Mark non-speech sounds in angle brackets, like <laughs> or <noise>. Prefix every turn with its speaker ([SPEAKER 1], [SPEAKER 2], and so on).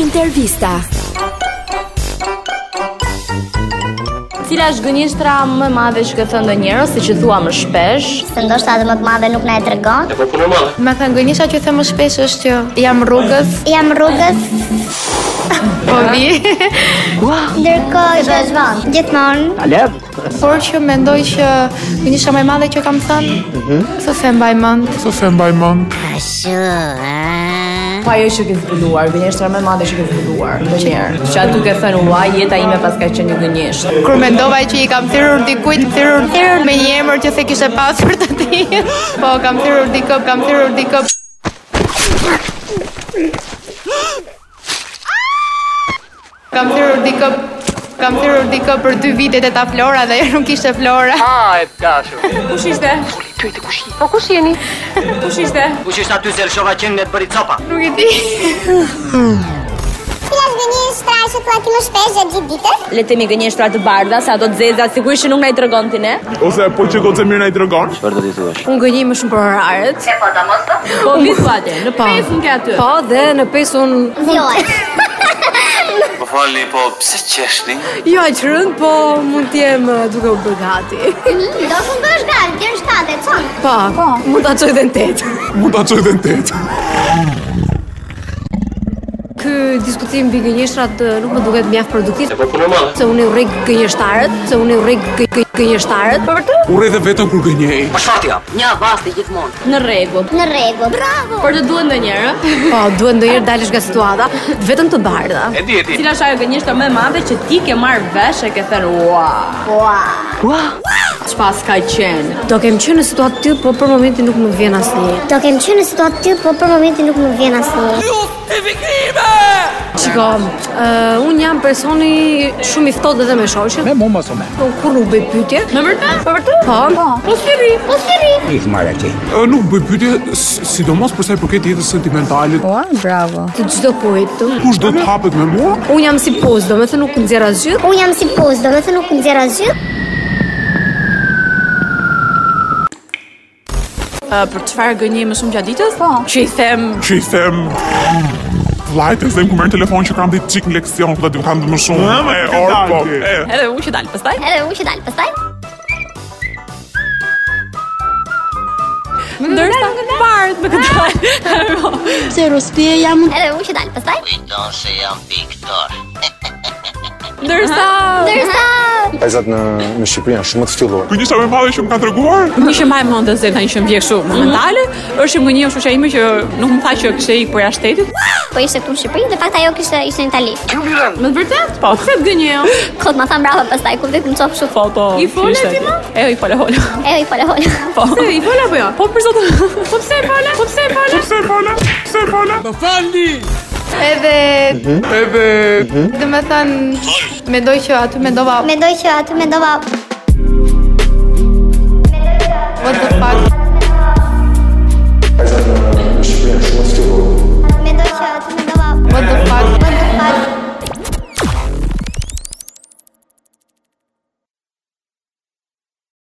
[SPEAKER 1] Intervista.
[SPEAKER 2] Cila është gënjeshtra më e madhe që ke thënë ndonjëherë ose që thua më shpesh?
[SPEAKER 3] se ndoshta edhe më të madhe nuk na e tregon.
[SPEAKER 4] E po punë madhe.
[SPEAKER 5] Me thënë gënjesha që them më shpesh është që jam rrugës,
[SPEAKER 3] Jam rrugës,
[SPEAKER 5] po
[SPEAKER 3] <laughs>
[SPEAKER 5] vi,
[SPEAKER 3] ndërkohë që zvon. Gjithmonë
[SPEAKER 5] por që mendoj që gënjesha më e madhe që kam thënë, se se mbaj mend.
[SPEAKER 2] Po ajo që ke zbuluar, gënjeshtra më e madhe që ke zbuluar ndonjëherë. Që aty ke thënë ua, jeta ime pas ka qenë një gënjeshtër.
[SPEAKER 5] Kur mendova që i kam thirrur dikujt, thirrur thirrur me një emër që se kishte pasur të tij. <laughs> Po kam thirrur dikë, kam thirrur dikë. Kam thirrur dikë, kam thirrur dikë për dy vitet e ta Flora dhe <laughs> ajo nuk ishte Flora.
[SPEAKER 4] A, e të dashur.
[SPEAKER 2] Kush ishte? Po kush jeni? Kush Po ishte?
[SPEAKER 4] Kush është aty Zelshova që ngjet bëri copa?
[SPEAKER 5] Nuk e di.
[SPEAKER 3] Cila është gënjeshtra që thua ti më shpesh gjatë gjithë ditës?
[SPEAKER 2] Le të themi gënjeshtra të bardha, se ato të zeza sigurisht që nuk na i tregon ti ne.
[SPEAKER 6] Ose po që gocë mirë na i tregon.
[SPEAKER 4] Çfarë do t'i thuash?
[SPEAKER 7] Unë gënjej më shumë për oraret.
[SPEAKER 2] Po vi thua atë, në pesën ke aty.
[SPEAKER 7] Po, dhe në pesë unë
[SPEAKER 3] Fjohet.
[SPEAKER 4] Po falni, po pse qeshni?
[SPEAKER 7] jo aq rënd, po mund të jem eh, duke u bërë gati.
[SPEAKER 3] <laughs>
[SPEAKER 7] <laughs>
[SPEAKER 3] Do të bësh gati deri në 7 çon.
[SPEAKER 7] Po, mund ta çoj edhe në tetë.
[SPEAKER 6] Mund ta çoj edhe në tetë.
[SPEAKER 7] Ky diskutim mbi gënjeshtrat eh, nuk më duket mjaft produktiv.
[SPEAKER 4] E po punë madhe.
[SPEAKER 7] Se unë i urrej gënjeshtarët, se unë i urrej gë- gë- gënjeshtarët. Po vërtet?
[SPEAKER 6] U rrëdhe vetëm kur gënjej.
[SPEAKER 4] Po çfarë ti jap?
[SPEAKER 2] Në rregull.
[SPEAKER 3] Në rregull. Bravo.
[SPEAKER 2] Por të duhet ndonjëherë.
[SPEAKER 7] Po, duhet ndonjëherë dalësh nga situata, vetëm të bardha.
[SPEAKER 4] E di, e di.
[SPEAKER 2] Cila është ajo gënjeshtra më e madhe që ti ke marr vesh e ke thënë ua,
[SPEAKER 3] Ua.
[SPEAKER 2] çfarë ka qenë?
[SPEAKER 7] Do kem qenë në situatë të tillë, po për momentin nuk më vjen asnjë.
[SPEAKER 3] Do kem qenë në situatë të, po për momentin nuk më vjen asnjë.
[SPEAKER 7] Shiko, uh, unë Po, jam personi shumë i ftohtë edhe me shoqet. Me mua mos u me. Kur nuk bëj pyetje?
[SPEAKER 2] Në vërtet? Po vërtet?
[SPEAKER 7] Po. Po.
[SPEAKER 2] Po si ri?
[SPEAKER 3] Po si ri?
[SPEAKER 6] Ë, nuk bëj pyetje, s- sidomos përsa i përket jetës sentimentale.
[SPEAKER 7] Të çdo kujt.
[SPEAKER 6] Kush do të hapet me mua?
[SPEAKER 7] Unë jam si poz, do me thënë nuk nxjerr asgjë.
[SPEAKER 3] Unë jam si poz, do me thënë nuk nxjerr asgjë.
[SPEAKER 8] për çfarë gënjej më shumë gjatë ditës? Po. Që i them
[SPEAKER 6] Që i them Vlajtë, e them ku merë telefon që kam ditë qik në leksion, ku ta dy kam të më shumë. E, orë, po, e.
[SPEAKER 8] edhe unë që dal pastaj.
[SPEAKER 3] Edhe unë që dal pastaj.
[SPEAKER 8] Ndërsa parë me këtë.
[SPEAKER 3] Edhe unë që dal pastaj.
[SPEAKER 7] <laughs>
[SPEAKER 8] Ndërsa
[SPEAKER 3] Ndërsa
[SPEAKER 9] Pajzat në, në Shqipëri janë shumë të ftylluar.
[SPEAKER 6] Kënjësha me madhe që më kanë të rëguar?
[SPEAKER 8] një që mbaj mend se tani që më vjen kështu
[SPEAKER 7] Mhm.
[SPEAKER 8] momentale, është që më gënjeu shoqja ime që nuk më tha që kishte ikë për jashtë shtetit.
[SPEAKER 3] po ishte këtu në Shqipëri, në fakt ajo kishte ishte në Itali.
[SPEAKER 8] Më të vërtet? Po, pse të gënjeu?
[SPEAKER 3] Kot ma tha mbrapa pastaj, ku vdek më çop kështu.
[SPEAKER 8] Po, po.
[SPEAKER 2] I fole
[SPEAKER 8] ishte.
[SPEAKER 2] ti, ma?
[SPEAKER 8] E, i fole hol.
[SPEAKER 3] E i fole hol.
[SPEAKER 8] Po. Se i fole apo jo? Po për zotin. Po pse e fole? Po pse e fole?
[SPEAKER 6] Pse e fola? Pse e fola?
[SPEAKER 5] Edhe edhe do të thënë mendoj që aty mendova
[SPEAKER 3] Mendoj që aty mendova
[SPEAKER 5] what the fuck.